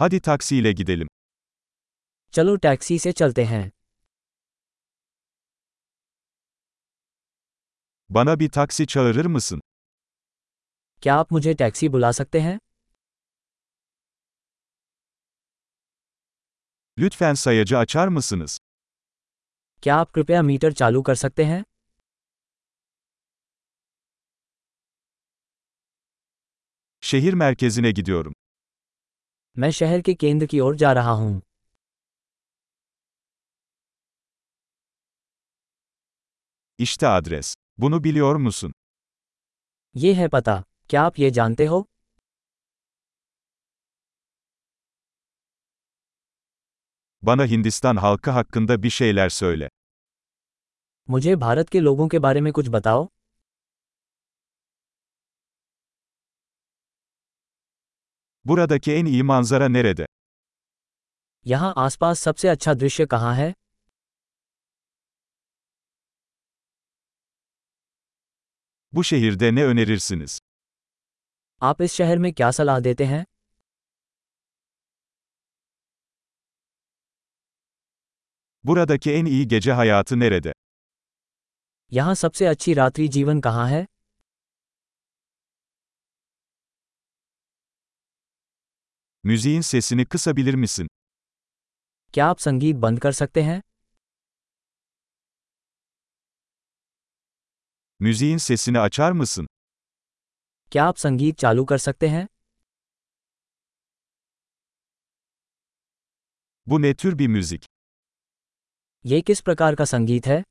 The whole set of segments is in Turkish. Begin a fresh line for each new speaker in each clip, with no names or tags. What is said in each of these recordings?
Hadi taksiyle gidelim.
चलो taxi से चलते हैं
Bana bir taksi çağırır mısın?
क्या आप मुझे टैक्सी बुला सकते हैं
Lütfen sayacı açar mısınız?
क्या आप कृपया मीटर चालू कर सकते हैं
Şehir merkezine gidiyorum.
मैं शहर के केंद्र की ओर जा रहा हूँ
İşte adres. Bunu biliyor musun?
ये है पता क्या आप ये जानते हो
Bana Hindistan halkı hakkında bir şeyler söyle.
मुझे भारत के लोगों के बारे में कुछ बताओ
Buradaki en iyi manzara nerede?
यहाँ आसपास सबसे अच्छा दृश्य कहाँ है
Bu şehirde ne önerirsiniz?
आप इस शहर में क्या सलाह देते हैं
Buradaki en iyi gece hayatı nerede?
यहाँ सबसे अच्छी रात्रि जीवन कहाँ है
Müziğin sesini kısabilir misin?
क्या आप संगीत बंद कर सकते हैं
Müziğin sesini açar mısın?
क्या आप संगीत चालू कर सकते हैं
Bu ne tür bir müzik?
ये किस प्रकार का संगीत है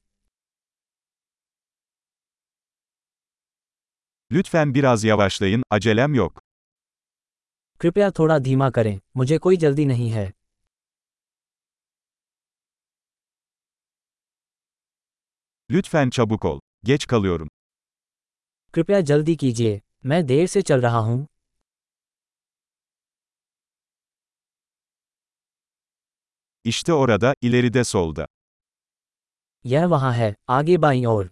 Lütfen biraz yavaşlayın, acelem yok.
कृपया थोड़ा धीमा करें मुझे कोई जल्दी नहीं है
Lütfen çabuk ol. Geç kalıyorum.
कृपया जल्दी कीजिए मैं देर से चल रहा हूँ
İşte orada, ileride solda.
यह वहाँ है आगे बाईं ओर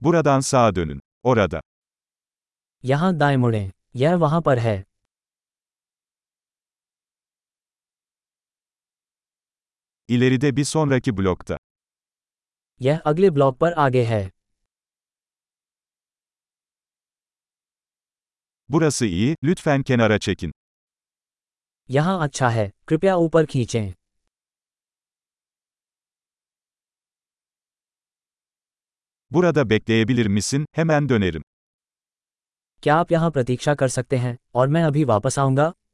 Buradan sağa dönün. Orada.
यहाँ दाएं मुड़ें यह वहाँ पर है
İleride bir sonraki blokta.
यह अगले ब्लॉक पर आगे है
Burası iyi, lütfen kenara çekin.
यहाँ अच्छा है कृपया ऊपर खींचें
Burada bekleyebilir misin? Hemen dönerim.
क्या आप यहाँ प्रतीक्षा कर सकते हैं और मैं अभी वापस आऊँगा